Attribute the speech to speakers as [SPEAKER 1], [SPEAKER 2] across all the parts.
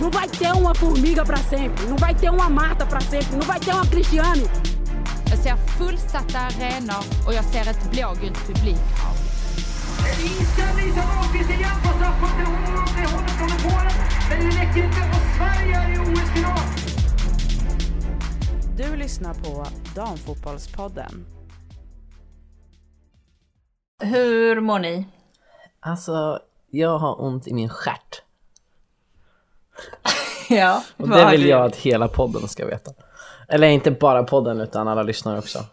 [SPEAKER 1] Não vai ter uma formiga para sempre, não vai ter uma Marta para sempre, não vai ter uma Cristiane.
[SPEAKER 2] Jag ser fullsatta arenor och jag ser ett blågult publikhav.
[SPEAKER 3] Inställning som Ahlqvist igen på straffpunkten. Hon håller från Polen, men det räcker inte. Och Sverige är i OS-final.
[SPEAKER 4] Du lyssnar på Damfotbollspodden.
[SPEAKER 5] Hur mår ni?
[SPEAKER 6] Alltså, jag har ont i min stjärt.
[SPEAKER 5] Ja,
[SPEAKER 6] Och
[SPEAKER 5] vad
[SPEAKER 6] det
[SPEAKER 5] har
[SPEAKER 6] vill
[SPEAKER 5] du-
[SPEAKER 6] jag att hela podden ska veta. Eller inte bara podden, utan alla lyssnare också.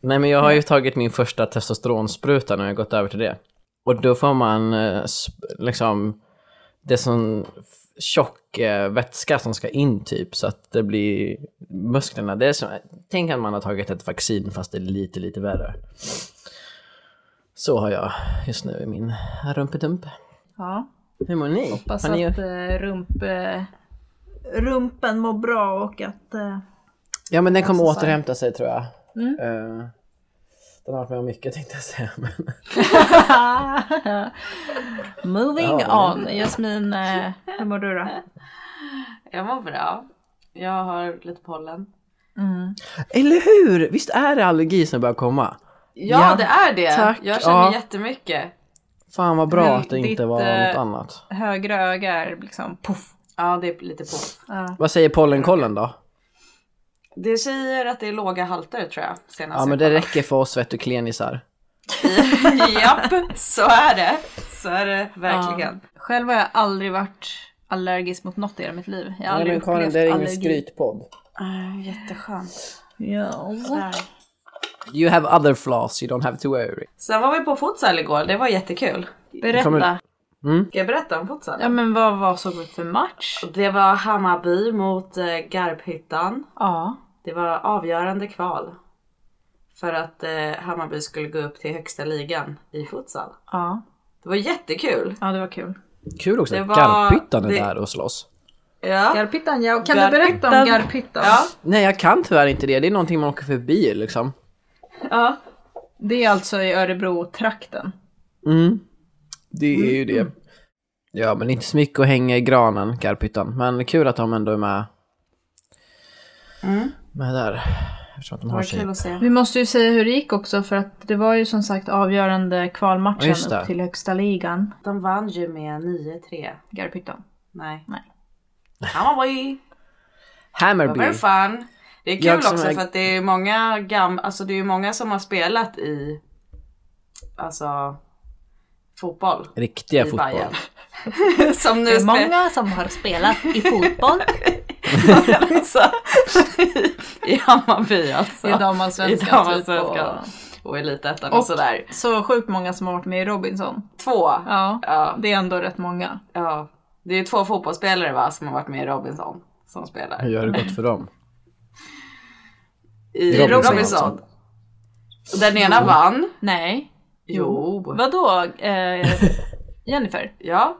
[SPEAKER 6] Nej, men jag har ju tagit min första testosteronspruta när jag gått över till det. Och då får man eh, sp- liksom det som f- tjock eh, vätska som ska in typ så att det blir musklerna. Det är som, tänk att man har tagit ett vaccin fast det är lite, lite värre. Så har jag just nu i min rumpedump.
[SPEAKER 5] Ja,
[SPEAKER 6] Hur mår ni?
[SPEAKER 5] hoppas
[SPEAKER 6] Har ni-
[SPEAKER 5] att eh, rump, eh, rumpen mår bra och att... Eh,
[SPEAKER 6] Ja men den kommer
[SPEAKER 5] Alltså, så här.
[SPEAKER 6] återhämta sig tror jag.
[SPEAKER 5] Mm.
[SPEAKER 6] Eh, den har varit med om mycket tänkte jag säga. Men...
[SPEAKER 5] moving
[SPEAKER 6] Ja,
[SPEAKER 5] on. Jasmin, eh, hur mår du då?
[SPEAKER 7] Jag mår bra. Jag har lite pollen.
[SPEAKER 6] Eller hur! Visst är det allergi som börjar komma?
[SPEAKER 7] Ja,
[SPEAKER 6] Ja,
[SPEAKER 7] det är det.
[SPEAKER 6] tack,
[SPEAKER 7] jag känner
[SPEAKER 6] ja.
[SPEAKER 7] jättemycket.
[SPEAKER 6] Fan vad bra
[SPEAKER 5] Men
[SPEAKER 6] att det
[SPEAKER 5] ditt,
[SPEAKER 6] inte var
[SPEAKER 5] eh,
[SPEAKER 6] något annat.
[SPEAKER 5] Högra öga är liksom poff.
[SPEAKER 7] Ja, det är lite på.
[SPEAKER 5] Ja.
[SPEAKER 6] Vad säger pollenkollen då?
[SPEAKER 7] Det säger att det är låga halter tror jag. Senast
[SPEAKER 6] Ja
[SPEAKER 7] jag
[SPEAKER 6] men det
[SPEAKER 7] kollade.
[SPEAKER 6] räcker för oss vet du klenisar.
[SPEAKER 7] Japp, så är det. Så är det verkligen.
[SPEAKER 5] Ja. Själv har jag aldrig varit allergisk mot något i hela mitt liv. Jag har aldrig upplevt allergi.
[SPEAKER 6] skrytpodd.
[SPEAKER 7] Ah, jätteskönt.
[SPEAKER 5] Ja.
[SPEAKER 6] You have other flaws you don't have to worry.
[SPEAKER 7] Sen var vi på futsal igår, det var jättekul.
[SPEAKER 5] Berätta.
[SPEAKER 7] Ska jag berätta om futsal?
[SPEAKER 5] Ja men vad, vad såg vi för match?
[SPEAKER 7] Det var Hammarby mot eh, Garphyttan.
[SPEAKER 5] Ja.
[SPEAKER 7] Det var avgörande kval. För att eh, Hammarby skulle gå upp till högsta ligan i futsal.
[SPEAKER 5] Ja.
[SPEAKER 7] Det var jättekul.
[SPEAKER 5] Ja det var kul.
[SPEAKER 6] Kul också
[SPEAKER 7] Det
[SPEAKER 6] att
[SPEAKER 7] var-
[SPEAKER 6] Garphyttan är
[SPEAKER 7] det-
[SPEAKER 6] där och slåss.
[SPEAKER 7] Ja.
[SPEAKER 5] Garphyttan, ja. Kan du
[SPEAKER 7] Garphyttan.
[SPEAKER 5] berätta om Garphyttan?
[SPEAKER 7] Ja.
[SPEAKER 6] Nej jag kan tyvärr inte det, det är någonting man åker förbi liksom.
[SPEAKER 5] ja. Det är alltså i Örebro-trakten. Mm.
[SPEAKER 6] Mm. Det är ju det. Ja, men inte så mycket att hänga i granen, Garphyttan. Men kul att de ändå är med.
[SPEAKER 5] Mm.
[SPEAKER 6] Med där. Eftersom att de
[SPEAKER 7] Det
[SPEAKER 6] har
[SPEAKER 7] var kul
[SPEAKER 6] sig.
[SPEAKER 7] att se.
[SPEAKER 5] Vi måste ju säga hur det gick också för att det var ju som sagt avgörande
[SPEAKER 6] Ja,
[SPEAKER 5] kvalmatchen
[SPEAKER 6] just det.
[SPEAKER 5] upp till högsta ligan.
[SPEAKER 7] De vann ju med 9-3.
[SPEAKER 5] Garphyttan.
[SPEAKER 7] Nej.
[SPEAKER 5] Nej.
[SPEAKER 7] Hammarby! Det var
[SPEAKER 6] Hammarby.
[SPEAKER 7] very fun. Det är kul
[SPEAKER 6] Jag som
[SPEAKER 7] också
[SPEAKER 6] är-
[SPEAKER 7] för att det är många gam... alltså det är många som har spelat i alltså fotboll
[SPEAKER 6] Riktiga
[SPEAKER 7] i
[SPEAKER 6] fotboll.
[SPEAKER 7] Bayern. som nu
[SPEAKER 5] Det är
[SPEAKER 7] spelar
[SPEAKER 5] många som har spelat i fotboll
[SPEAKER 7] alltså, i Hammarby alltså.
[SPEAKER 5] i
[SPEAKER 7] I
[SPEAKER 5] damallsvenskan. typ,
[SPEAKER 7] damallsvenskan. Och elitettan och,
[SPEAKER 5] Och-
[SPEAKER 7] sådär.
[SPEAKER 5] och så sjukt många som har varit med i Robinson.
[SPEAKER 7] Två. Ja.
[SPEAKER 5] Ja,
[SPEAKER 7] Ja,
[SPEAKER 5] det är ändå rätt många.
[SPEAKER 7] Det är två fotbollsspelare va som har varit med i Robinson som spelar.
[SPEAKER 6] Hur har det gått för dem?
[SPEAKER 7] I
[SPEAKER 6] Robinson
[SPEAKER 7] Robinson.
[SPEAKER 6] alltså.
[SPEAKER 7] Och Den ena vann.
[SPEAKER 5] Nej.
[SPEAKER 7] Jo.
[SPEAKER 5] Vadå? Eh, Jennifer?
[SPEAKER 7] Ja.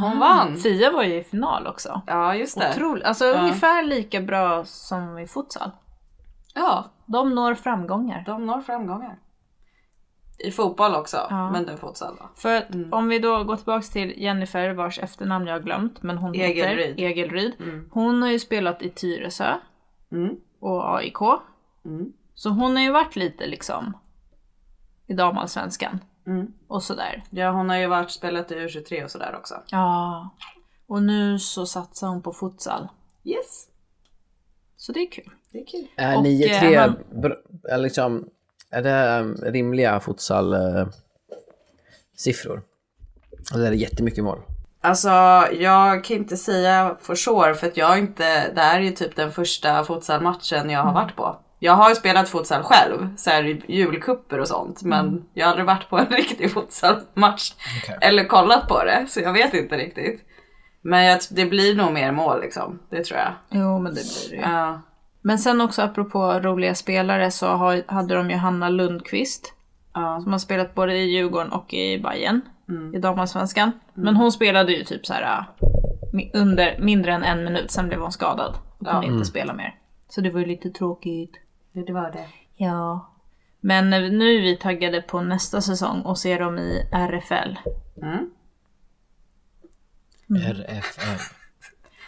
[SPEAKER 7] Hon vann.
[SPEAKER 5] Fia var ju i final också.
[SPEAKER 7] Ja just det.
[SPEAKER 5] Otroligt. Alltså ungefär lika bra som i futsal.
[SPEAKER 7] Ja.
[SPEAKER 5] De når framgångar.
[SPEAKER 7] De når framgångar. I fotboll också,
[SPEAKER 5] Ja.
[SPEAKER 7] men den futsal då.
[SPEAKER 5] För att
[SPEAKER 7] Mm.
[SPEAKER 5] om vi då går tillbaka till Jennifer vars efternamn jag har glömt, men hon
[SPEAKER 7] Egelryd.
[SPEAKER 5] heter Egelryd.
[SPEAKER 7] Mm.
[SPEAKER 5] Hon har ju spelat i Tyresö
[SPEAKER 7] Mm.
[SPEAKER 5] och AIK.
[SPEAKER 7] Mm.
[SPEAKER 5] Så hon har ju varit lite liksom i damallsvenskan
[SPEAKER 7] Mm.
[SPEAKER 5] och sådär.
[SPEAKER 7] Ja, hon har ju varit spelat i U23 och sådär också.
[SPEAKER 5] Ja. Och nu så satsar hon på futsal.
[SPEAKER 7] Yes,
[SPEAKER 5] Så det är kul.
[SPEAKER 7] det är kul.
[SPEAKER 6] Är
[SPEAKER 5] Och,
[SPEAKER 6] 9-3
[SPEAKER 5] eh, han-
[SPEAKER 6] br- är liksom... Är det um, rimliga futsal... eh, siffror? Eller är det jättemycket mål?
[SPEAKER 7] Alltså, jag kan inte säga for sure för att jag har inte, det här är ju typ den första futsalmatchen jag har varit på. Jag har ju spelat futsal själv, så här i julkupper och sånt, men jag har aldrig varit på en riktig futsalmatch
[SPEAKER 6] Okej.
[SPEAKER 7] eller kollat på det, så jag vet inte riktigt. Men jag, det blir nog mer mål liksom, det tror jag.
[SPEAKER 5] Jo men det blir det ju.
[SPEAKER 7] Ja.
[SPEAKER 5] Men sen också apropå roliga spelare så har, hade de ju Hanna Lundqvist.
[SPEAKER 7] Ja.
[SPEAKER 5] Som har spelat både i Djurgården och i Bayern i damallsvenskan. Men hon spelade ju typ så här äh, mi- under mindre än en minut, sen blev hon skadad och kunde inte spela mer. Så det var ju lite tråkigt.
[SPEAKER 7] det var det.
[SPEAKER 5] Ja. Men eh, nu är vi taggade på nästa säsong och ser dem i RFL. Mm.
[SPEAKER 6] RFL.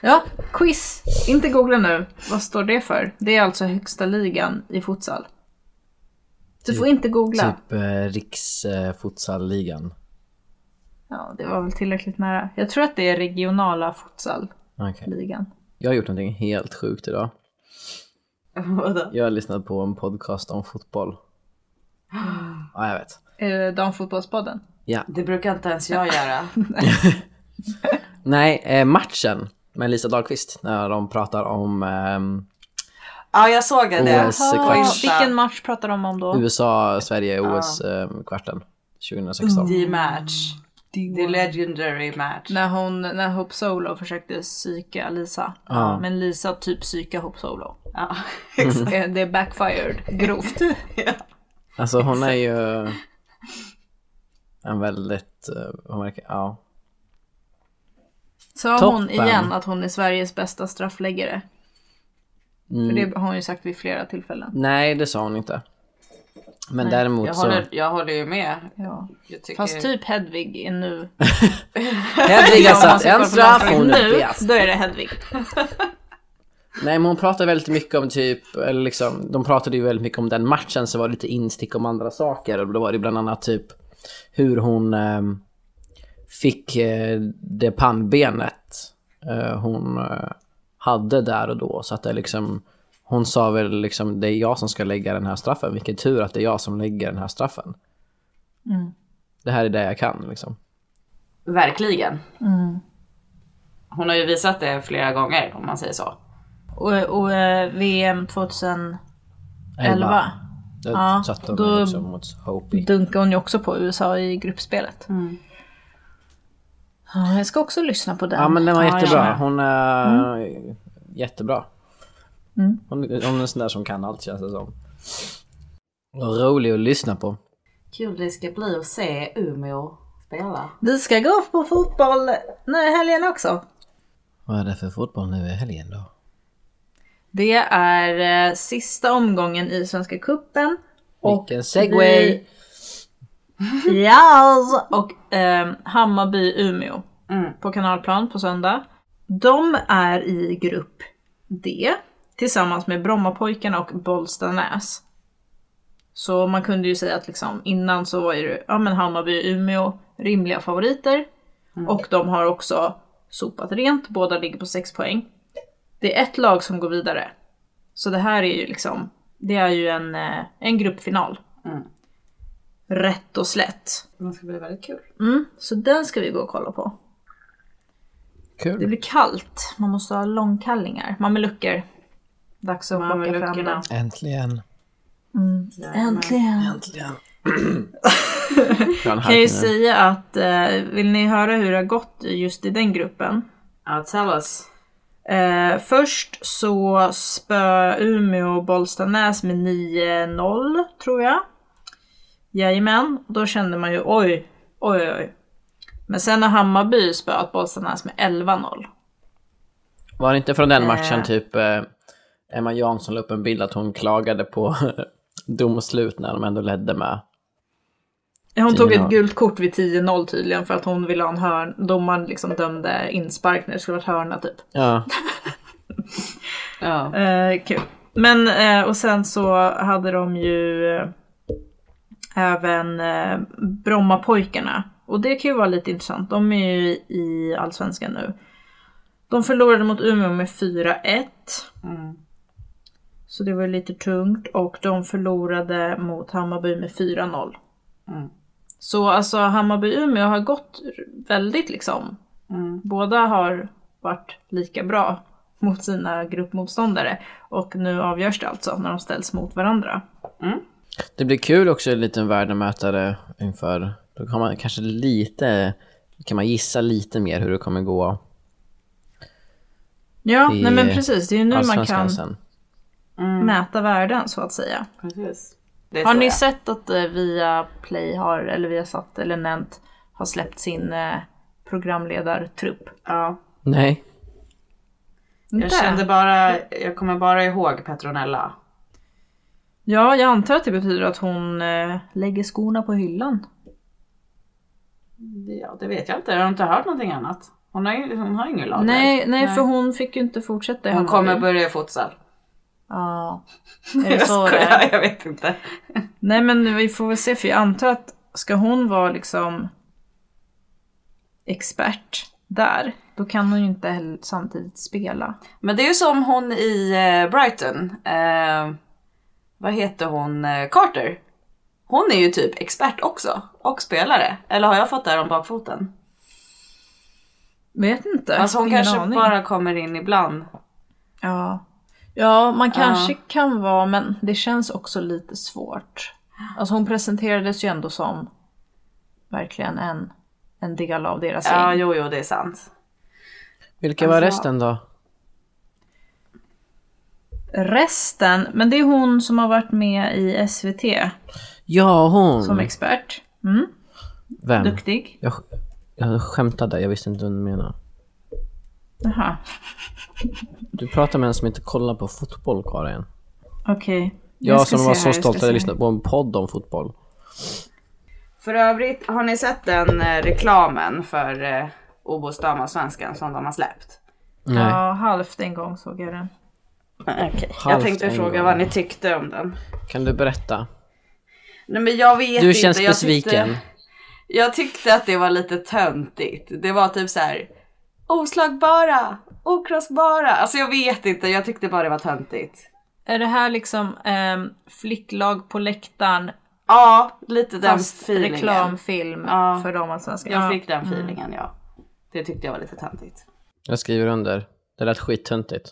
[SPEAKER 5] Ja, quiz. Inte googla nu. Vad står det för? Det är alltså högsta ligan i futsal. Du får inte googla.
[SPEAKER 6] Typ eh, Riksfutsalligan.
[SPEAKER 5] Ja, det var väl tillräckligt nära. Jag tror att det är regionala futsalligan.
[SPEAKER 6] Okej. Jag har gjort någonting helt sjukt idag.
[SPEAKER 7] Vadå?
[SPEAKER 6] Jag har lyssnat på en podcast om fotboll. Ja, jag vet.
[SPEAKER 5] Eh, Damfotbollspodden.
[SPEAKER 6] Ja.
[SPEAKER 7] Det brukar inte ens jag göra.
[SPEAKER 6] Nej, eh, matchen med Lisa Dahlqvist när de pratar om ehm,
[SPEAKER 7] Ja, jag såg det.
[SPEAKER 6] OS-kvarts.
[SPEAKER 7] Jaha.
[SPEAKER 5] Vilken match pratar de om då?
[SPEAKER 6] USA, Sverige, ehm, OS-kvarten 2016.
[SPEAKER 7] The match. The legendary match.
[SPEAKER 5] När hon, när Hope Solo försökte psyka Lisa.
[SPEAKER 6] Ja.
[SPEAKER 5] Men Lisa typ psyka Hope Solo.
[SPEAKER 7] Ja.
[SPEAKER 5] Eh, Det är backfired grovt.
[SPEAKER 6] Alltså hon är ju en väldigt, eh, hon verkar, ja.
[SPEAKER 5] Sa hon
[SPEAKER 6] Toppen.
[SPEAKER 5] igen att hon är Sveriges bästa straffläggare? För det
[SPEAKER 6] Mm.
[SPEAKER 5] har hon ju sagt vid flera tillfällen.
[SPEAKER 6] Nej, det sa hon inte. Men däremot
[SPEAKER 7] Jag
[SPEAKER 6] så,
[SPEAKER 7] håller, jag håller ju med.
[SPEAKER 5] Ja.
[SPEAKER 7] Jag tycker...
[SPEAKER 5] Fast typ Hedvig är nu...
[SPEAKER 6] Hedvig har
[SPEAKER 5] Ja, om
[SPEAKER 6] satt
[SPEAKER 5] man ska
[SPEAKER 6] en
[SPEAKER 5] kolla på
[SPEAKER 6] straff,
[SPEAKER 5] någon
[SPEAKER 6] hon är
[SPEAKER 5] nu,
[SPEAKER 6] bäst.
[SPEAKER 5] Då är det Hedvig.
[SPEAKER 6] Nej men hon pratar väldigt mycket om typ, eller liksom, de pratade ju väldigt mycket om den matchen så var det lite instick om andra saker och då var det bland annat typ hur hon ehm, fick eh, det pannbenet eh, hon eh, hade där och då så att det liksom hon sa väl liksom det är jag som ska lägga den här straffen, vilken tur att det är jag som lägger den här straffen.
[SPEAKER 5] Mm.
[SPEAKER 6] Det här är det jag kan liksom.
[SPEAKER 7] Verkligen.
[SPEAKER 5] Mm.
[SPEAKER 7] Hon har ju visat det flera gånger om man säger så.
[SPEAKER 5] Och, och eh, VM 2011
[SPEAKER 6] Elva. Där
[SPEAKER 5] Ja,
[SPEAKER 6] satte hon
[SPEAKER 5] då-
[SPEAKER 6] liksom mot Hopi.
[SPEAKER 5] dunkade hon ju också på USA i gruppspelet. Ja, jag ska också lyssna på den.
[SPEAKER 6] Ja men den var
[SPEAKER 5] jag Mm.
[SPEAKER 6] jättebra.
[SPEAKER 5] med.
[SPEAKER 6] Hon är jättebra.
[SPEAKER 5] Mm.
[SPEAKER 6] Hon, hon är en sån där som kan allt känns det som. Och rolig att lyssna på.
[SPEAKER 7] Kul det ska bli att se Umeå spela.
[SPEAKER 5] Vi ska gå på fotboll nu i helgen också.
[SPEAKER 6] Vad är det för fotboll nu i helgen då?
[SPEAKER 5] Det är eh, sista omgången i Svenska Cupen. Och
[SPEAKER 6] Vilken segway!
[SPEAKER 5] Yes! Och eh, Hammarby-Umeå på Kanalplan på söndag. De är i grupp D tillsammans med Brommapojkarna och Bollstanäs. Så man kunde ju säga att liksom innan så var ju det, ja, men Hammarby och Umeå rimliga favoriter. Och de har också sopat rent, båda ligger på 6 poäng. Det är ett lag som går vidare. Så det här är ju liksom, det är ju en, eh, en gruppfinal. Rätt och slätt.
[SPEAKER 7] Mm. Det ska bli väldigt kul.
[SPEAKER 5] Mm, så den ska vi gå och kolla på. Det
[SPEAKER 6] Kul!
[SPEAKER 5] blir kallt. Man måste ha långkallingar. Mamelucker. Dags att plocka fram
[SPEAKER 7] Mameluckerna.
[SPEAKER 5] dem.
[SPEAKER 6] Äntligen!
[SPEAKER 5] Äntligen!
[SPEAKER 6] Äntligen!
[SPEAKER 5] Kan jag ju säga att, eh, vill ni höra hur det har gått just i den gruppen?
[SPEAKER 7] Ja, tell us.
[SPEAKER 5] Eh, först så spö Umeå Bollstanäs med 9-0 tror jag. Jajamän, då kände man ju oj, oj, oj, oj. Men sen har Hammarby spöat Bollstanäs med 11-0.
[SPEAKER 6] Var det inte från den matchen
[SPEAKER 5] Eh.
[SPEAKER 6] typ eh, Emma Jansson la upp en bild att hon klagade på domslut när de ändå ledde med?
[SPEAKER 5] Hon tog
[SPEAKER 6] 10-0.
[SPEAKER 5] ett gult kort vid 10-0 tydligen för att hon ville ha en hörn. Domaren liksom dömde inspark när det skulle varit hörna typ.
[SPEAKER 6] Ja,
[SPEAKER 7] Ja.
[SPEAKER 5] Eh, kul. Men eh, och sen så hade de ju eh, även eh, Brommapojkarna. Och det kan ju vara lite intressant. De är ju i Allsvenskan nu. De förlorade mot Umeå med 4-1. Mm. Så det var ju lite tungt. Och de förlorade mot Hammarby med 4-0.
[SPEAKER 7] Mm.
[SPEAKER 5] Så alltså Hammarby-Umeå har gått väldigt liksom.
[SPEAKER 7] Mm.
[SPEAKER 5] Båda har varit lika bra mot sina gruppmotståndare. Och nu avgörs det alltså när de ställs mot varandra.
[SPEAKER 6] Det blir kul också en liten värdemätare inför. Då kan man kanske lite, kan man gissa lite mer hur det kommer gå
[SPEAKER 5] Ja,
[SPEAKER 6] I
[SPEAKER 5] nej men precis. Det är ju nu man
[SPEAKER 6] allsvenskan
[SPEAKER 5] kan
[SPEAKER 6] sen.
[SPEAKER 5] mäta värden så att säga.
[SPEAKER 7] Precis. Det
[SPEAKER 5] Har
[SPEAKER 7] tror
[SPEAKER 5] ni
[SPEAKER 7] jag.
[SPEAKER 5] sett att eh, via Play har, eller via Satt eller Nent har släppt sin eh, programledartrupp?
[SPEAKER 7] Ja.
[SPEAKER 6] Nej.
[SPEAKER 7] Jag kände bara, jag kommer bara ihåg Petronella.
[SPEAKER 5] Ja, jag antar att det betyder att hon eh, lägger skorna på hyllan.
[SPEAKER 7] Ja, det vet jag inte. Jag har inte hört någonting annat. Hon har, ju- hon har ingen lag
[SPEAKER 5] Nej, nej, för hon fick ju inte fortsätta i
[SPEAKER 7] Hon
[SPEAKER 5] Hammarby.
[SPEAKER 7] kommer börja i futsal.
[SPEAKER 5] Ja. Är det
[SPEAKER 7] Jag
[SPEAKER 5] så det är?
[SPEAKER 7] skojar, jag vet inte.
[SPEAKER 5] Nej men vi får väl se för jag antar att ska hon vara liksom expert där, då kan hon ju inte heller samtidigt spela.
[SPEAKER 7] Men det är ju som hon i eh, Brighton. Eh, vad heter hon? Eh, Carter. Hon är ju typ expert också. Och spelare. Eller har jag fått det här om bakfoten?
[SPEAKER 5] Vet inte.
[SPEAKER 7] Alltså hon
[SPEAKER 5] ingen
[SPEAKER 7] kanske
[SPEAKER 5] aning.
[SPEAKER 7] bara kommer in ibland.
[SPEAKER 5] Ja. ja, man kanske kan vara, men det känns också lite svårt. Alltså hon presenterades ju ändå som verkligen en, en del av deras
[SPEAKER 7] Ja,
[SPEAKER 5] gäng.
[SPEAKER 7] jo, jo, det är sant.
[SPEAKER 6] Vilka
[SPEAKER 5] Alltså-
[SPEAKER 6] var resten då?
[SPEAKER 5] Resten, men det är hon som har varit med i SVT
[SPEAKER 6] Ja, hon!
[SPEAKER 5] som expert. Mm,
[SPEAKER 6] Vem?
[SPEAKER 5] duktig.
[SPEAKER 6] Jag, jag skämtade, jag visste inte vad du menade.
[SPEAKER 5] Jaha,
[SPEAKER 6] Du pratar med en som inte kollar på fotboll, Karin.
[SPEAKER 5] okej.
[SPEAKER 6] Jag
[SPEAKER 5] ska
[SPEAKER 6] som
[SPEAKER 5] se
[SPEAKER 6] var
[SPEAKER 5] här,
[SPEAKER 6] så
[SPEAKER 5] jag ska
[SPEAKER 6] stolt att
[SPEAKER 5] se
[SPEAKER 6] jag lyssnade på en podd om fotboll.
[SPEAKER 7] För övrigt, har ni sett den eh, reklamen för eh, Obos Damallsvenskan som de har släppt?
[SPEAKER 5] här.
[SPEAKER 6] Nej.
[SPEAKER 5] Ja, halvt en gång såg jag den.
[SPEAKER 7] Okej, jag
[SPEAKER 6] Halvt
[SPEAKER 7] tänkte
[SPEAKER 6] en
[SPEAKER 7] fråga
[SPEAKER 6] gång.
[SPEAKER 7] vad ni tyckte om den.
[SPEAKER 6] Kan du berätta?
[SPEAKER 7] Nej, men jag vet
[SPEAKER 6] Du
[SPEAKER 7] inte.
[SPEAKER 6] känns
[SPEAKER 7] jag tyckte-
[SPEAKER 6] besviken.
[SPEAKER 7] Jag tyckte att det var lite töntigt. Det var typ så här oslagbara, okrossbara. Alltså jag vet inte, jag tyckte bara det var töntigt.
[SPEAKER 5] Är det här liksom ehm, flicklag på läktaren
[SPEAKER 7] Ja, lite den
[SPEAKER 5] fast
[SPEAKER 7] feelingen.
[SPEAKER 5] reklamfilm
[SPEAKER 7] Ja.
[SPEAKER 5] för de allsvenska?
[SPEAKER 7] Jag
[SPEAKER 5] Ja. Mm.
[SPEAKER 7] fick den feelingen, ja. Det tyckte jag var lite töntigt.
[SPEAKER 6] Jag skriver under. Det lät skittöntigt.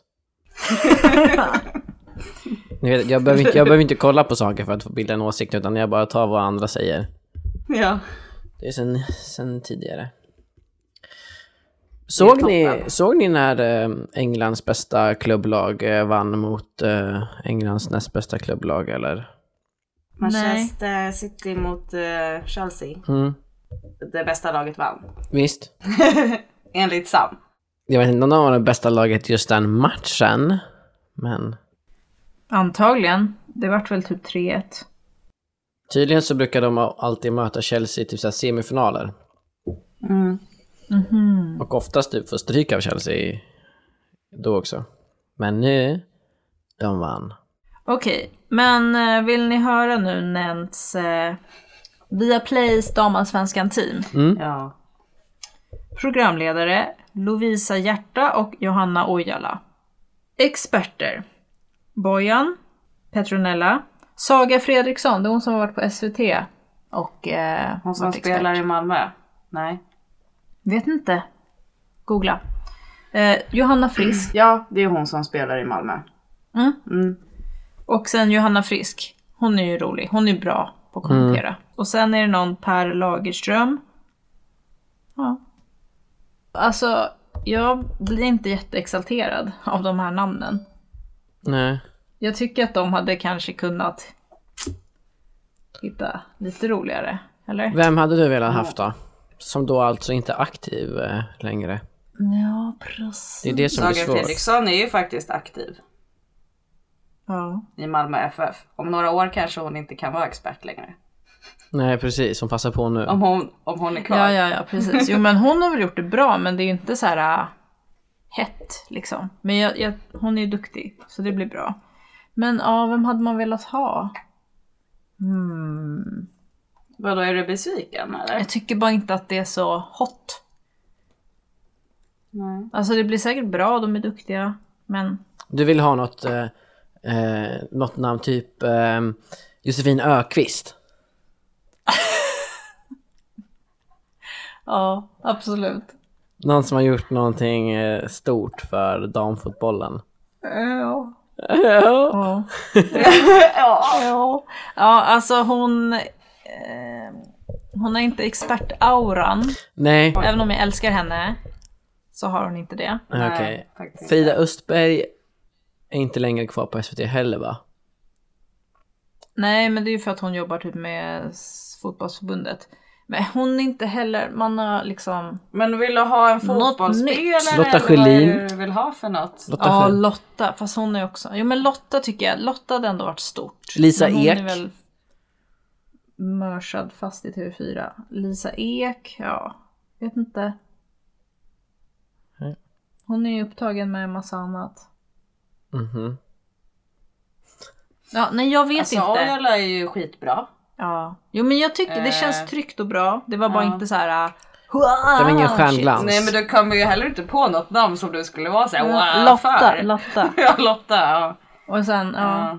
[SPEAKER 6] Ni vet, jag, behöver inte, jag behöver inte kolla på saker för att få bilda en åsikt utan jag bara tar vad andra säger.
[SPEAKER 7] Ja.
[SPEAKER 6] Det är sen, sen tidigare. Såg ni, såg ni när eh, Englands bästa klubblag eh, vann mot eh, Englands näst bästa klubblag eller?
[SPEAKER 7] Manchester City mot eh, Chelsea.
[SPEAKER 6] Mm.
[SPEAKER 7] Det bästa laget vann.
[SPEAKER 6] Visst.
[SPEAKER 7] Enligt Sam.
[SPEAKER 6] Jag vet inte om de var det bästa laget just den matchen. Men
[SPEAKER 5] Antagligen. Det vart väl typ 3-1.
[SPEAKER 6] tydligen så brukar de alltid möta Chelsea i typ så här semifinaler. Och oftast typ få stryk av Chelsea då också. Men nu, de vann.
[SPEAKER 5] Okej, men eh, vill ni höra nu Nents eh, Viaplays damallsvenskan team?
[SPEAKER 7] Ja.
[SPEAKER 5] Programledare Lovisa Hjärta och Johanna Ojala. Experter Bojan Petronella Saga Fredriksson, det är hon som har varit på SVT och eh,
[SPEAKER 7] Hon som
[SPEAKER 5] varit expert.
[SPEAKER 7] spelar i Malmö. Nej.
[SPEAKER 5] Vet inte. Googla. Eh, Johanna Frisk Mm.
[SPEAKER 7] Ja, det är hon som spelar i Malmö.
[SPEAKER 6] Mm.
[SPEAKER 5] och sen Johanna Frisk. Hon är ju rolig, hon är bra på att kommentera.
[SPEAKER 6] Mm.
[SPEAKER 5] Och sen är det någon Per Lagerström. Ja. Alltså, jag blir inte jätteexalterad av de här namnen.
[SPEAKER 6] Nej.
[SPEAKER 5] Jag tycker att de hade kanske kunnat hitta lite roligare, eller?
[SPEAKER 6] Vem hade du velat haft då? Som då alltså inte är aktiv eh, längre.
[SPEAKER 5] Ja, precis.
[SPEAKER 6] Det är det som
[SPEAKER 7] Saga
[SPEAKER 6] blir svårt.
[SPEAKER 7] Fredriksson är ju faktiskt aktiv
[SPEAKER 5] Ja.
[SPEAKER 7] i Malmö FF. Om några år kanske hon inte kan vara expert längre.
[SPEAKER 6] Nej precis, som passar på nu.
[SPEAKER 7] Om hon, om hon är kvar.
[SPEAKER 5] Ja, ja, ja, precis. Jo, men hon har väl gjort det bra, men det är ju inte så här äh, hett liksom. Men jag, jag, hon är ju duktig, så det blir bra. Men ja, vem hade man velat ha? Hmm.
[SPEAKER 7] Vadå, är du besviken eller?
[SPEAKER 5] Jag tycker bara inte att det är så hot.
[SPEAKER 7] Nej.
[SPEAKER 5] Alltså det blir säkert bra, de är duktiga, men
[SPEAKER 6] Du vill ha något, eh, eh, något namn typ eh, Josefin Ökvist.
[SPEAKER 5] ja, absolut.
[SPEAKER 6] Någon som har gjort någonting eh, stort för damfotbollen.
[SPEAKER 5] Ja. Ja. Ja. Ja, alltså hon... Eh, hon har inte expertauran.
[SPEAKER 6] Nej,
[SPEAKER 5] Även om jag älskar henne så har hon inte det.
[SPEAKER 6] Nej,
[SPEAKER 7] Nej,
[SPEAKER 6] okej.
[SPEAKER 7] faktiskt
[SPEAKER 6] Frida Östberg är inte längre kvar på SVT heller va?
[SPEAKER 5] Nej, men det är ju för att hon jobbar typ med s- fotbollsförbundet. Men hon är inte heller, man har liksom...
[SPEAKER 7] Men vill du ha en
[SPEAKER 5] Något
[SPEAKER 7] fotbollsspelare?
[SPEAKER 5] nytt.
[SPEAKER 6] Lotta
[SPEAKER 7] eller vad är det
[SPEAKER 6] Schelin.
[SPEAKER 7] Du vill ha för något?
[SPEAKER 6] Lotta
[SPEAKER 5] Ja,
[SPEAKER 6] Schelin.
[SPEAKER 5] Lotta. Fast hon är också... Jo, men Lotta tycker jag, Lotta hade ändå varit stort.
[SPEAKER 6] Lisa
[SPEAKER 5] Men hon är
[SPEAKER 6] Ek.
[SPEAKER 5] väl mörsad fast i TV4. Lisa Ek, ja. Vet inte. Hon är ju upptagen med en massa annat.
[SPEAKER 6] Mhm.
[SPEAKER 5] Ja, nej jag vet
[SPEAKER 7] Alltså
[SPEAKER 5] inte.
[SPEAKER 7] Ojala är ju skitbra.
[SPEAKER 5] Ja. Jo men jag tycker det känns
[SPEAKER 7] Eh.
[SPEAKER 5] tryggt och bra. Det var bara
[SPEAKER 7] Ja.
[SPEAKER 5] inte så här. ah,
[SPEAKER 6] Det var ingen stjärnglans.
[SPEAKER 7] Nej men du kommer ju heller inte på något namn som du skulle vara såhär wow
[SPEAKER 5] Lotta,
[SPEAKER 7] för.
[SPEAKER 5] Lotta.
[SPEAKER 7] ja Lotta ja.
[SPEAKER 5] Och sen, ja.
[SPEAKER 7] ja.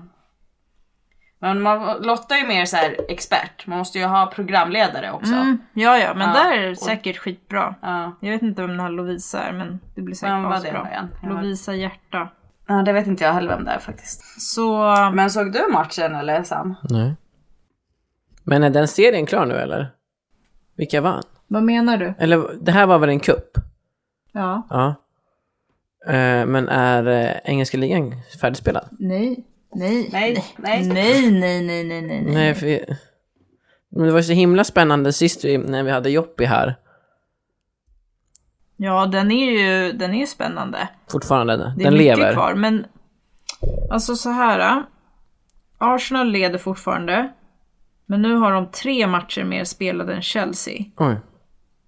[SPEAKER 7] Men man, Lotta är mer såhär expert, man måste ju ha programledare också.
[SPEAKER 5] Mm, ja, ja, men
[SPEAKER 7] Ja.
[SPEAKER 5] där är det säkert skitbra.
[SPEAKER 7] Ja.
[SPEAKER 5] Jag vet inte vem den här Lovisa är, men det blir säkert
[SPEAKER 7] Vem var det
[SPEAKER 5] asbra.
[SPEAKER 7] nu igen? Jag vet-
[SPEAKER 5] Lovisa Hjärta.
[SPEAKER 7] ja det vet inte jag heller vem det är faktiskt.
[SPEAKER 5] Så,
[SPEAKER 7] Men såg du matchen eller Sam?
[SPEAKER 6] Nej. Men är den serien klar nu eller? Vilka vann?
[SPEAKER 5] vad menar du?
[SPEAKER 6] Eller det här var väl en kupp?
[SPEAKER 5] Ja,
[SPEAKER 6] Ja. Eh, men är eh, engelska ligan färdigspelad?
[SPEAKER 5] nej, nej,
[SPEAKER 7] Nej, nej.
[SPEAKER 5] nej, nej, nej, nej, nej. nej.
[SPEAKER 6] Nej, för vi... Men det var så himla spännande sist vi, när vi hade Joppi här.
[SPEAKER 5] Ja, den är ju den är ju spännande.
[SPEAKER 6] Fortfarande.
[SPEAKER 5] Det är
[SPEAKER 6] den
[SPEAKER 5] mycket
[SPEAKER 6] lever.
[SPEAKER 5] kvar, men alltså så här. äh, Arsenal leder fortfarande, men nu har de tre matcher mer spelade än Chelsea.
[SPEAKER 6] Oj.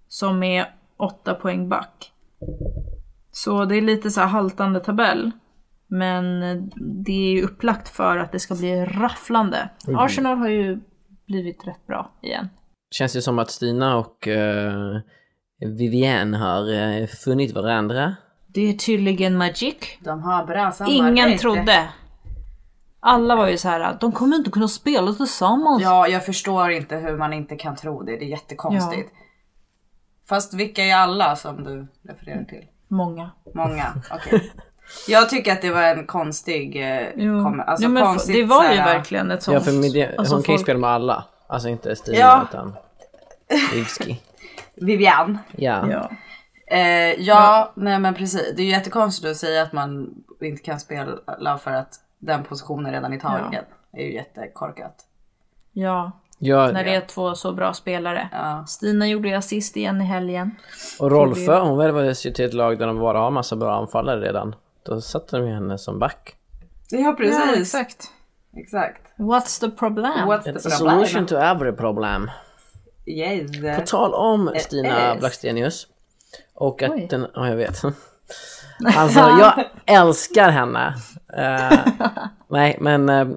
[SPEAKER 5] som är 8 poäng back. Så det är lite så här haltande tabell. Men äh, det är ju upplagt för att det ska bli rafflande. Arsenal har ju blivit rätt bra igen.
[SPEAKER 6] Känns det som att Stina och eh, Vivienne har eh, funnit varandra?
[SPEAKER 5] Det är tydligen magic.
[SPEAKER 7] De har bra samarbete.
[SPEAKER 5] Ingen trodde. Alla var ju så här att de kommer inte kunna spela tillsammans.
[SPEAKER 7] Ja, jag förstår inte hur man inte kan tro det, det är jättekonstigt. Fast vilka är alla som du refererar till?
[SPEAKER 5] Många.
[SPEAKER 7] Många, okej. Jag tycker att det var en konstig... Eh, kom, alltså
[SPEAKER 5] Ja, men
[SPEAKER 7] konstigt,
[SPEAKER 5] det var ju
[SPEAKER 7] såhär,
[SPEAKER 5] verkligen ett sånt.
[SPEAKER 6] Ja, för med det,
[SPEAKER 5] alltså
[SPEAKER 6] hon kan ju
[SPEAKER 5] folk-
[SPEAKER 6] spela med alla. Alltså inte Stina
[SPEAKER 7] Ja.
[SPEAKER 6] utan Rizky.
[SPEAKER 7] Vivian.
[SPEAKER 6] Ja.
[SPEAKER 5] Ja.
[SPEAKER 7] Eh, ja, ja, nej men precis. Det är ju jättekonstigt att säga att man inte kan spela för att den positionen redan är tagen. Det är ju jättekorkat.
[SPEAKER 5] ja,
[SPEAKER 6] Jag,
[SPEAKER 5] när det är två så bra spelare.
[SPEAKER 7] Ja.
[SPEAKER 5] Stina gjorde ju assist igen i helgen.
[SPEAKER 6] Och Rolfö, hon värvades ju till ett lag där de bara har massa bra anfallare redan. Då satte de ju henne som back.
[SPEAKER 7] Ja, precis. exakt.
[SPEAKER 5] exakt. What's the problem?
[SPEAKER 7] What's the
[SPEAKER 6] It's a
[SPEAKER 7] problem?
[SPEAKER 6] solution to every problem.
[SPEAKER 7] Yes.
[SPEAKER 6] På tal om Stina
[SPEAKER 7] yes.
[SPEAKER 6] Blackstenius. Och
[SPEAKER 5] Eh, Oj.
[SPEAKER 6] att den, ja jag vet. Alltså jag älskar henne. Eh, nej men eh,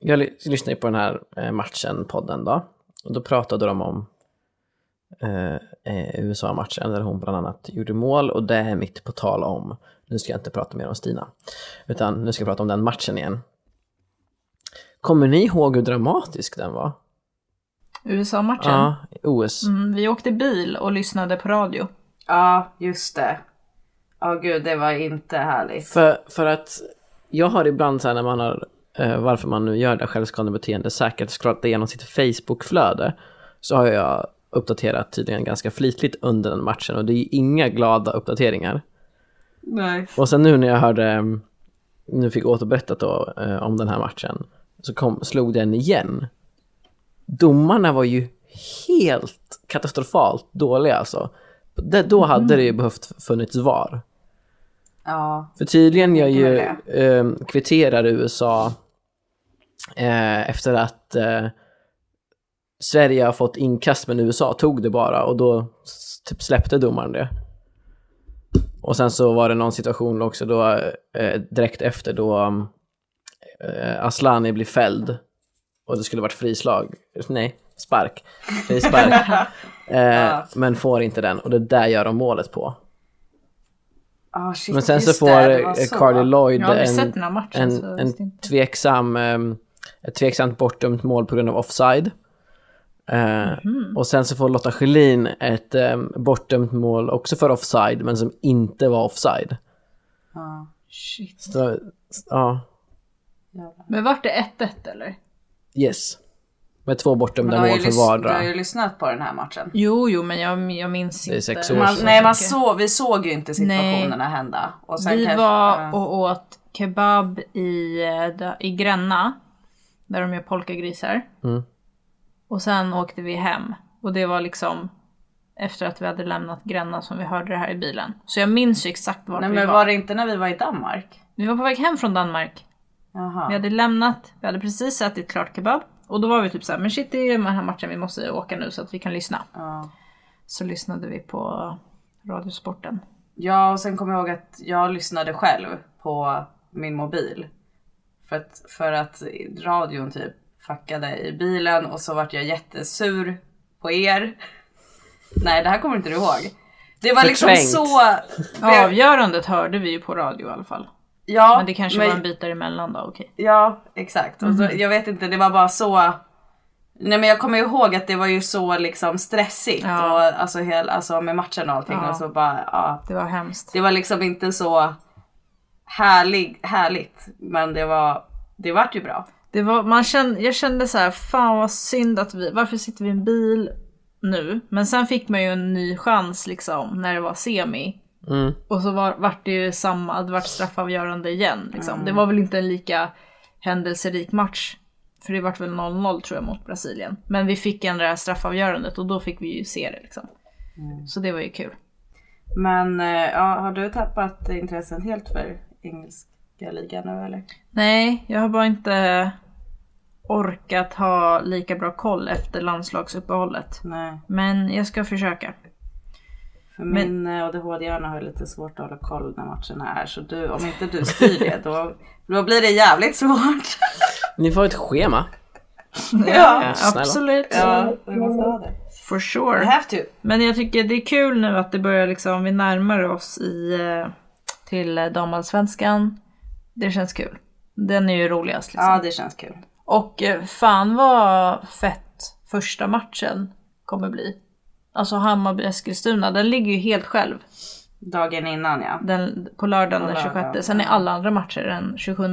[SPEAKER 6] jag ly- lyssnade ju på den här eh, matchen-podden då. Och då pratade de om eh, eh, USA-matchen där hon bland annat gjorde mål och det är mitt på tal om, nu ska jag inte prata mer om Stina, utan nu ska jag prata om den matchen igen. Kommer ni ihåg hur dramatisk den var?
[SPEAKER 5] USA-matchen.
[SPEAKER 6] Ja, OS.
[SPEAKER 5] Mm, vi åkte bil och lyssnade på radio.
[SPEAKER 7] Ja, just det. Ja, gud, det var inte härligt.
[SPEAKER 6] För, för att jag har ibland så här när man har, eh, varför man nu gör det här självskadebeteende säkert, scrollat igenom sitt Facebook-flöde, så har jag uppdaterat tydligen ganska flitigt under den matchen och det är ju inga glada uppdateringar.
[SPEAKER 7] Nej.
[SPEAKER 6] Och sen nu när jag hörde, eh, nu fick återberättat då eh, om den här matchen, så kom, slog den igen. Domarna var ju helt katastrofalt dåliga alltså. Det, då hade det ju behövt funnits VAR.
[SPEAKER 7] Ja,
[SPEAKER 6] För tydligen gör ju,
[SPEAKER 7] Tänker
[SPEAKER 6] ehm, kvitterar USA eh, efter att eh, Sverige har fått inkast men USA tog det bara och då s- typ släppte domaren det. Och sen så var det någon situation också då eh, direkt efter då eh, Aslani blir fälld och det skulle varit frislag. Nej, spark. Frispark. eh, Men får inte den och det där gör de målet på.
[SPEAKER 7] Ah, shit,
[SPEAKER 6] Men sen så
[SPEAKER 7] just
[SPEAKER 6] får
[SPEAKER 7] det, det var
[SPEAKER 6] eh,
[SPEAKER 7] så.
[SPEAKER 6] Carly Lloyd
[SPEAKER 5] Jag har aldrig
[SPEAKER 6] en,
[SPEAKER 5] sett den här matchen så
[SPEAKER 6] en,
[SPEAKER 5] jag
[SPEAKER 6] en
[SPEAKER 5] visste inte.
[SPEAKER 6] tveksam, ehm, ett tveksamt bortdömt mål på grund av offside. Eh, Och sen så får Lotta Schelin ett um, bortdömt mål också för offside, men som inte var offside.
[SPEAKER 7] Ja,
[SPEAKER 6] Så, ja,
[SPEAKER 5] Men vart det 1-1 eller?
[SPEAKER 6] yes. Med två
[SPEAKER 7] Men
[SPEAKER 6] bortdömda
[SPEAKER 7] du har, ju
[SPEAKER 6] mål för
[SPEAKER 7] lys- du
[SPEAKER 6] vardera.
[SPEAKER 7] har ju lyssnat på den här matchen.
[SPEAKER 5] Jo, jo, men jag, jag minns
[SPEAKER 6] Det är
[SPEAKER 5] inte.
[SPEAKER 6] sex år
[SPEAKER 7] Man,
[SPEAKER 6] så-
[SPEAKER 7] nej, man
[SPEAKER 5] mycket.
[SPEAKER 7] såg, vi såg ju inte situationerna hända. Och sen
[SPEAKER 5] Vi
[SPEAKER 7] kanske-
[SPEAKER 5] var
[SPEAKER 7] ja.
[SPEAKER 5] och åt kebab i, eh, da- i Gränna, där de gör polkagrisar.
[SPEAKER 6] Mm.
[SPEAKER 5] Och sen åkte vi hem. Och det var liksom efter att vi hade lämnat Gränna som vi hörde det här i bilen. Så jag minns ju exakt vart
[SPEAKER 7] Nej,
[SPEAKER 5] vi
[SPEAKER 7] men
[SPEAKER 5] var.
[SPEAKER 7] var det inte när vi var i Danmark?
[SPEAKER 5] Vi var på väg hem från Danmark.
[SPEAKER 7] Jaha.
[SPEAKER 5] Vi hade lämnat, vi hade precis ätit klart kebab. Och då var vi typ såhär, men shit det är ju den här matchen, vi måste åka nu så att vi kan lyssna.
[SPEAKER 7] Ja.
[SPEAKER 5] Så lyssnade vi på Radiosporten.
[SPEAKER 7] Ja, och sen kommer jag ihåg att jag lyssnade själv på min mobil. För att, för att radion typ fuckade i bilen och så vart jag jättesur på er. Nej, det här kommer inte du ihåg. Det var liksom
[SPEAKER 6] Förträngt.
[SPEAKER 7] så...
[SPEAKER 5] Avgörandet hörde vi ju på radio i alla fall.
[SPEAKER 7] Ja,
[SPEAKER 5] Men det kanske
[SPEAKER 7] men-
[SPEAKER 5] var en Mhm. bit däremellan då, okej.
[SPEAKER 7] Ja, exakt. Och då, jag vet inte, det var bara så... Nej men jag kommer ihåg att det var ju så liksom stressigt
[SPEAKER 5] Ja.
[SPEAKER 7] och alltså, hel, alltså med matchen och allting
[SPEAKER 5] Ja.
[SPEAKER 7] och så bara, ja.
[SPEAKER 5] Det var hemskt.
[SPEAKER 7] Det var liksom inte så härlig, härligt men det var, det vart ju bra.
[SPEAKER 5] Det var, man kände, jag kände så här, fan vad synd att vi, varför sitter vi i en bil nu? Men sen fick man ju en ny chans liksom när det var semi.
[SPEAKER 6] Mm.
[SPEAKER 5] Och så var, vart det ju samma, det vart straffavgörande igen liksom. Det var väl inte en lika händelserik match. För det vart väl 0-0 tror jag mot Brasilien. Men vi fick en det här straffavgörandet och då fick vi ju se det liksom. Så det var ju kul.
[SPEAKER 7] Men eh, ja, har du tappat intresset helt för engelska ligan nu eller?
[SPEAKER 5] Nej, jag har bara inte orkat ha lika bra koll efter landslagsuppehållet.
[SPEAKER 7] Nej,
[SPEAKER 5] Men jag ska försöka.
[SPEAKER 7] för min eh, ADHD-hjärna har ju lite svårt att hålla koll när matcherna är så du, om inte du styr det då, då blir det jävligt svårt.
[SPEAKER 6] Ni får ett schema.
[SPEAKER 5] Ja,
[SPEAKER 6] snälla.
[SPEAKER 5] absolut.
[SPEAKER 7] Ja, vi måste ha det. typ,
[SPEAKER 5] For sure.
[SPEAKER 7] I have to.
[SPEAKER 5] Men jag tycker det är kul nu att det börjar liksom, vi närmar oss i, eh, till eh, damallsvenskan. Det känns kul. Den är ju roligast liksom.
[SPEAKER 7] Ja, det känns kul.
[SPEAKER 5] Och eh, fan vad fett första matchen kommer bli. Alltså Hammarby-Eskilstuna, den ligger ju helt själv.
[SPEAKER 7] Dagen innan ja.
[SPEAKER 5] Den, på lördagen
[SPEAKER 7] På
[SPEAKER 5] den 26.
[SPEAKER 7] lördagen,
[SPEAKER 5] Sen är alla andra matcher den 27.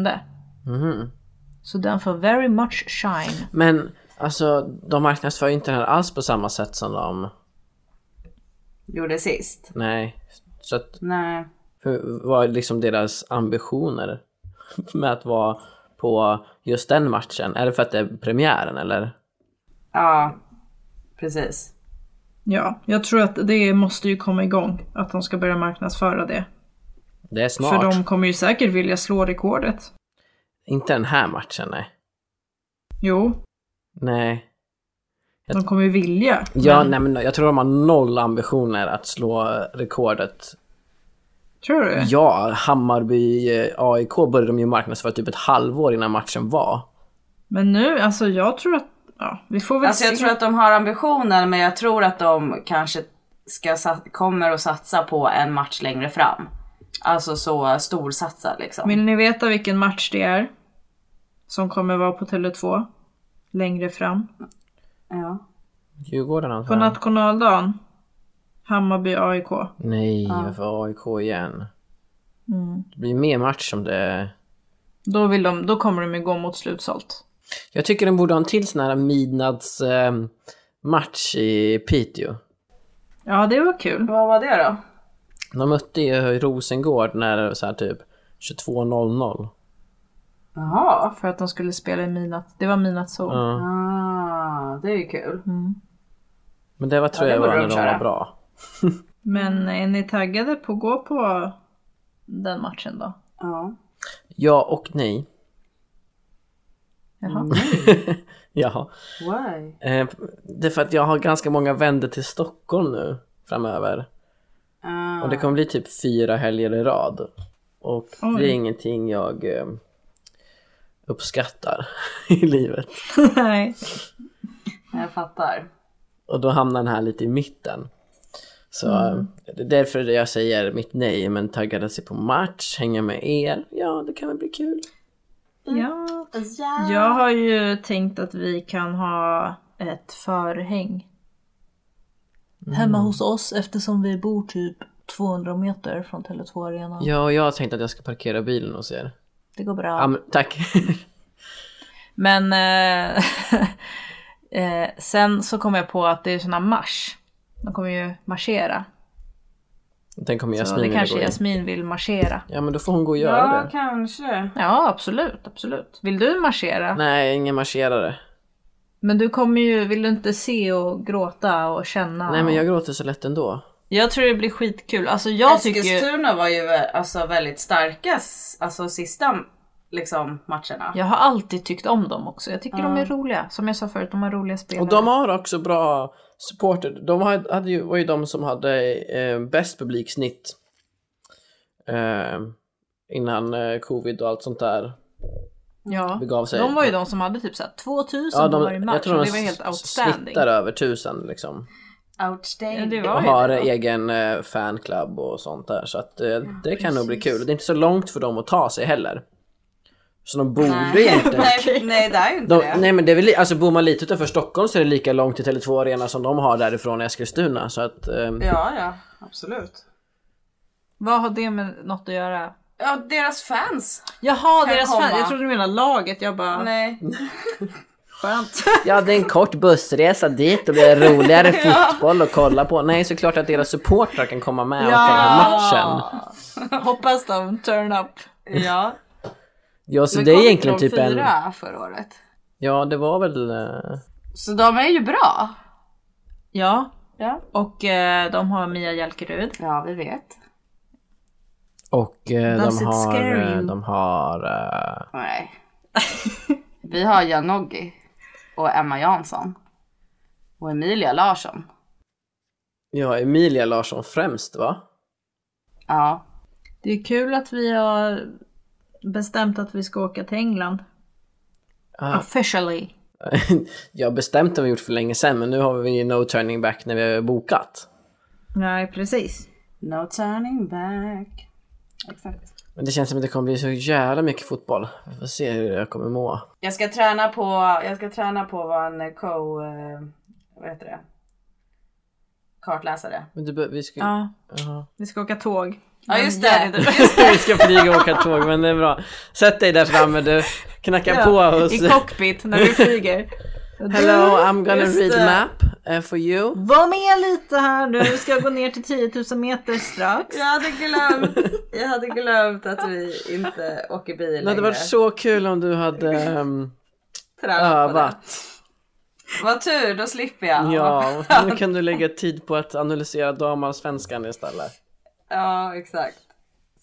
[SPEAKER 6] Mhm.
[SPEAKER 5] Så den får very much shine.
[SPEAKER 6] Men alltså, de marknadsför ju inte den här alls på samma sätt som de...
[SPEAKER 7] Gjorde sist.
[SPEAKER 6] Nej. Så att,
[SPEAKER 7] Nej.
[SPEAKER 6] hur var liksom deras ambitioner med att vara på just den matchen? Är det för att det är premiären eller?
[SPEAKER 7] Ja, precis.
[SPEAKER 5] Ja, jag tror att det måste ju komma igång. Att de ska börja marknadsföra det.
[SPEAKER 6] Det är snart.
[SPEAKER 5] kommer ju säkert vilja slå rekordet.
[SPEAKER 6] Inte den här matchen, nej.
[SPEAKER 5] Jo,
[SPEAKER 6] Nej.
[SPEAKER 5] de kommer ju vilja.
[SPEAKER 6] Ja, nej, men jag tror de har noll ambitioner att slå rekordet.
[SPEAKER 5] Tror du?
[SPEAKER 6] Ja, Hammarby eh, AIK började de ju marknadsföra typ ett halvår innan matchen var.
[SPEAKER 5] Men nu, alltså jag tror att... Ja, vi får väl
[SPEAKER 7] Alltså jag tror att de har ambitionen men jag tror att de kanske ska, sa- kommer att satsa på en match längre fram. Alltså så storsatsa liksom.
[SPEAKER 5] Vill ni veta vilken match det är? Som kommer vara på Tele2 längre fram.
[SPEAKER 7] Ja.
[SPEAKER 6] Djurgården
[SPEAKER 5] På
[SPEAKER 6] antar jag.
[SPEAKER 5] nationaldagen. Hammarby AIK.
[SPEAKER 6] Nej, varför AIK igen? Det blir mer match om det...
[SPEAKER 5] Då, vill de, då kommer de ju gå mot slutsålt.
[SPEAKER 6] Jag tycker de borde ha en till sån här midnattsmatch match i Piteå.
[SPEAKER 5] Ja, det var kul.
[SPEAKER 7] Vad var det då?
[SPEAKER 6] De mötte ju Rosengård när det var så här typ 22.00.
[SPEAKER 7] Jaha.
[SPEAKER 5] För att de skulle spela i midnatt. Det var midnattssol.
[SPEAKER 6] Ja.
[SPEAKER 7] Ah, det är ju kul.
[SPEAKER 5] Mm.
[SPEAKER 6] Men det var tror
[SPEAKER 7] det
[SPEAKER 6] jag var
[SPEAKER 7] borde
[SPEAKER 6] när
[SPEAKER 7] de
[SPEAKER 6] de
[SPEAKER 7] köra.
[SPEAKER 6] var bra.
[SPEAKER 5] Men är ni taggade på att gå på den matchen då?
[SPEAKER 7] Ja.
[SPEAKER 6] Ja och nej. Mm.
[SPEAKER 5] Jaha.
[SPEAKER 6] Jaha.
[SPEAKER 7] Why?
[SPEAKER 6] Eh, det är för att jag har ganska många vänner till Stockholm nu framöver.
[SPEAKER 7] Ah.
[SPEAKER 6] Och det kommer bli typ fyra helger i rad. Och det är ingenting jag eh, uppskattar i livet.
[SPEAKER 5] Nej.
[SPEAKER 7] Jag fattar.
[SPEAKER 6] Och då hamnar den här lite i mitten. Så eh, det är därför jag säger mitt nej, men taggade sig på match, hänga med er. Ja, det kan väl bli kul.
[SPEAKER 5] Ja. Jag har ju tänkt att vi kan ha ett förhäng.
[SPEAKER 6] Mm.
[SPEAKER 5] Hemma hos oss eftersom vi bor typ 200 meter från Tele2 Arena.
[SPEAKER 6] Ja, och jag har tänkt att jag ska parkera bilen hos er.
[SPEAKER 5] Det går
[SPEAKER 6] Ja,
[SPEAKER 5] bra.
[SPEAKER 6] men, tack.
[SPEAKER 5] Men eh, eh, sen så kom jag på att det är såna marsch. De kommer ju marschera.
[SPEAKER 6] Den kommer
[SPEAKER 5] Så
[SPEAKER 6] Jasmine
[SPEAKER 5] det
[SPEAKER 6] vilja
[SPEAKER 5] kanske
[SPEAKER 6] gå in.
[SPEAKER 5] Jasmin vill marschera.
[SPEAKER 6] Ja, men då får hon gå och göra
[SPEAKER 7] Ja,
[SPEAKER 6] det.
[SPEAKER 7] kanske.
[SPEAKER 5] Ja, absolut, absolut. Vill du marschera?
[SPEAKER 6] Nej, ingen marscherare.
[SPEAKER 5] Men du kommer ju, vill du inte se och gråta och känna?
[SPEAKER 6] Nej, men
[SPEAKER 5] och-
[SPEAKER 6] jag gråter så lätt ändå.
[SPEAKER 5] Jag tror det blir skitkul. Alltså jag tycker ju...
[SPEAKER 7] Eskilstuna var ju vä- alltså väldigt starka s- alltså sista liksom, matcherna.
[SPEAKER 5] Jag har alltid tyckt om dem också. Jag tycker de är roliga. Som jag sa förut, de har roliga spelare.
[SPEAKER 6] Och de har också bra supporter. De hade, hade ju, var ju de som hade eh, bäst publiksnitt Eh, innan eh, covid och allt sånt där.
[SPEAKER 5] Ja.
[SPEAKER 6] Begav sig.
[SPEAKER 5] De var ju de som hade typ såhär 2000
[SPEAKER 6] Ja,
[SPEAKER 5] ja,
[SPEAKER 6] de,
[SPEAKER 5] varje match.
[SPEAKER 6] jag tror de
[SPEAKER 5] och det var helt
[SPEAKER 6] s-
[SPEAKER 5] outstanding.
[SPEAKER 6] snittar över tusen liksom.
[SPEAKER 5] Ja,
[SPEAKER 7] Outstanding.
[SPEAKER 5] det
[SPEAKER 6] Och
[SPEAKER 5] var
[SPEAKER 6] har
[SPEAKER 5] ju det. ja.
[SPEAKER 6] egen eh, fanclub och sånt där. Så att eh, det kan nog bli kul. Det är inte så långt för dem att ta sig heller. Så de borde
[SPEAKER 7] Nej,
[SPEAKER 6] inte...
[SPEAKER 7] nej, nej, det är ju inte
[SPEAKER 6] De,
[SPEAKER 7] det.
[SPEAKER 6] nej men det är väl, li- alltså bor man lite utanför Stockholm så är det lika långt till Tele2 Arena som de har därifrån i Eskilstuna. Så att, ehm,
[SPEAKER 7] Ja, ja, absolut.
[SPEAKER 5] Vad har det med något att göra?
[SPEAKER 7] Ja, deras fans.
[SPEAKER 5] Jaha,
[SPEAKER 7] Kan
[SPEAKER 5] deras
[SPEAKER 7] komma.
[SPEAKER 5] fan. Jag trodde du menade laget. Jag bara,
[SPEAKER 7] Nej.
[SPEAKER 5] skönt.
[SPEAKER 6] Jag hade en kort bussresa dit och det är roligare fotboll att kolla på. Nej, såklart att deras supportrar kan komma med och kolla matchen.
[SPEAKER 5] Hoppas de turn up.
[SPEAKER 7] Ja.
[SPEAKER 6] Ja, så
[SPEAKER 7] Men
[SPEAKER 6] det
[SPEAKER 7] kom
[SPEAKER 6] är egentligen
[SPEAKER 7] de
[SPEAKER 6] typ en...
[SPEAKER 7] fyra förra året.
[SPEAKER 6] Ja, det var väl... eh,
[SPEAKER 7] Så de är ju bra.
[SPEAKER 5] Ja,
[SPEAKER 7] Ja,
[SPEAKER 5] och eh, de har Mia Jalkerud.
[SPEAKER 7] ja vi vet.
[SPEAKER 6] Och eh,
[SPEAKER 5] Does
[SPEAKER 6] de
[SPEAKER 5] it
[SPEAKER 6] har...
[SPEAKER 5] scare
[SPEAKER 6] eh,
[SPEAKER 5] you?
[SPEAKER 6] De har... eh,
[SPEAKER 7] Nej. Vi har Janogy och Emma Jansson. Och Emilia Larsson.
[SPEAKER 6] Ja, Emilia Larsson främst va?
[SPEAKER 7] Ja.
[SPEAKER 5] Det är kul att vi har bestämt att vi ska åka till England.
[SPEAKER 6] Ah.
[SPEAKER 5] Officially.
[SPEAKER 6] Jag bestämt har vi gjort för länge sedan men nu har vi ju no turning back när vi har bokat.
[SPEAKER 5] Nej, precis.
[SPEAKER 7] No turning back. Exakt.
[SPEAKER 6] Men det känns som att det kommer bli så jävla mycket fotboll. Vi får se hur jag kommer må.
[SPEAKER 7] Jag ska träna på, jag ska träna på vad en co, eh, vad heter det? Kartläsare.
[SPEAKER 6] Men du, bör- vi ska...
[SPEAKER 5] Ja,
[SPEAKER 6] Jaha.
[SPEAKER 5] vi ska åka tåg.
[SPEAKER 7] Ja
[SPEAKER 5] Men
[SPEAKER 7] just
[SPEAKER 5] gör
[SPEAKER 7] det.
[SPEAKER 6] vi ska flyga och åka tåg men det är bra. Sätt dig där framme du. Knacka på hos...
[SPEAKER 5] I cockpit när du flyger.
[SPEAKER 6] Hello I'm gonna
[SPEAKER 5] Just
[SPEAKER 6] read
[SPEAKER 5] det.
[SPEAKER 6] map eh, for you.
[SPEAKER 5] Var med lite här nu, vi ska gå ner till 10 000 meter strax.
[SPEAKER 7] Jag hade glömt, jag hade glömt att vi inte åker bil längre.
[SPEAKER 6] Det hade varit så kul om du hade ehm,
[SPEAKER 7] Tränat på det.
[SPEAKER 6] övat.
[SPEAKER 7] Vad tur, då slipper jag.
[SPEAKER 6] Ja, och nu kan du lägga tid på att analysera damallsvenskan istället.
[SPEAKER 7] Ja, exakt.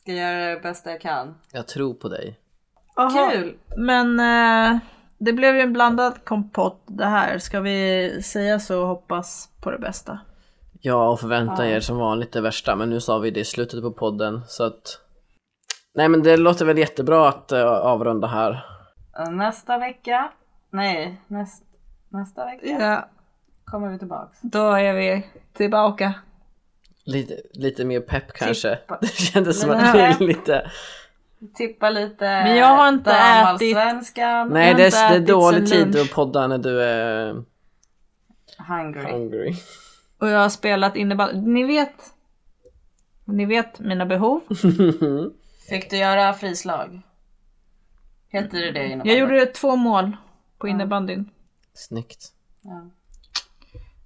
[SPEAKER 7] Ska göra det bästa jag kan.
[SPEAKER 6] Jag tror på dig.
[SPEAKER 7] Kul!
[SPEAKER 5] Men eh, det blev ju en blandad kompott det här. Ska vi säga så och hoppas på det bästa?
[SPEAKER 6] Ja, och förvänta er som vanligt det värsta, men nu sa vi det i slutet på podden så att... Nej men det låter väl jättebra att eh, avrunda här.
[SPEAKER 7] Nästa vecka. Nej, näst, nästa vecka
[SPEAKER 5] Ja,
[SPEAKER 7] kommer vi tillbaks.
[SPEAKER 5] då är vi tillbaka.
[SPEAKER 6] Lite, lite mer pepp kanske.
[SPEAKER 7] Tippa.
[SPEAKER 6] Det kändes som
[SPEAKER 7] Men
[SPEAKER 6] att
[SPEAKER 7] det
[SPEAKER 6] vi
[SPEAKER 7] här-
[SPEAKER 6] är lite...
[SPEAKER 7] Tippa lite
[SPEAKER 5] Men jag har inte ätit-
[SPEAKER 7] damallsvenskan.
[SPEAKER 6] Nej det är, det är
[SPEAKER 5] ätit
[SPEAKER 6] dålig
[SPEAKER 5] sen
[SPEAKER 6] tid
[SPEAKER 5] lunch.
[SPEAKER 6] att podda när du är
[SPEAKER 7] Hungry.
[SPEAKER 6] hungry.
[SPEAKER 5] Och jag har spelat innebandy. Ni vet, ni vet mina behov.
[SPEAKER 7] Fick du göra frislag? Heter det det innan?
[SPEAKER 5] Jag gjorde två mål på innebandyn.
[SPEAKER 6] Snyggt.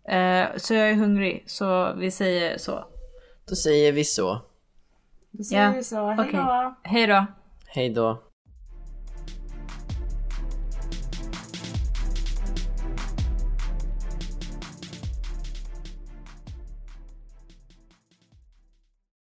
[SPEAKER 5] Eh, så jag är hungrig, så vi säger så.
[SPEAKER 6] Då säger vi så.
[SPEAKER 7] Då säger
[SPEAKER 5] Ja.
[SPEAKER 7] vi så. Hejdå!
[SPEAKER 5] Okej. Hej då!
[SPEAKER 6] Hej då.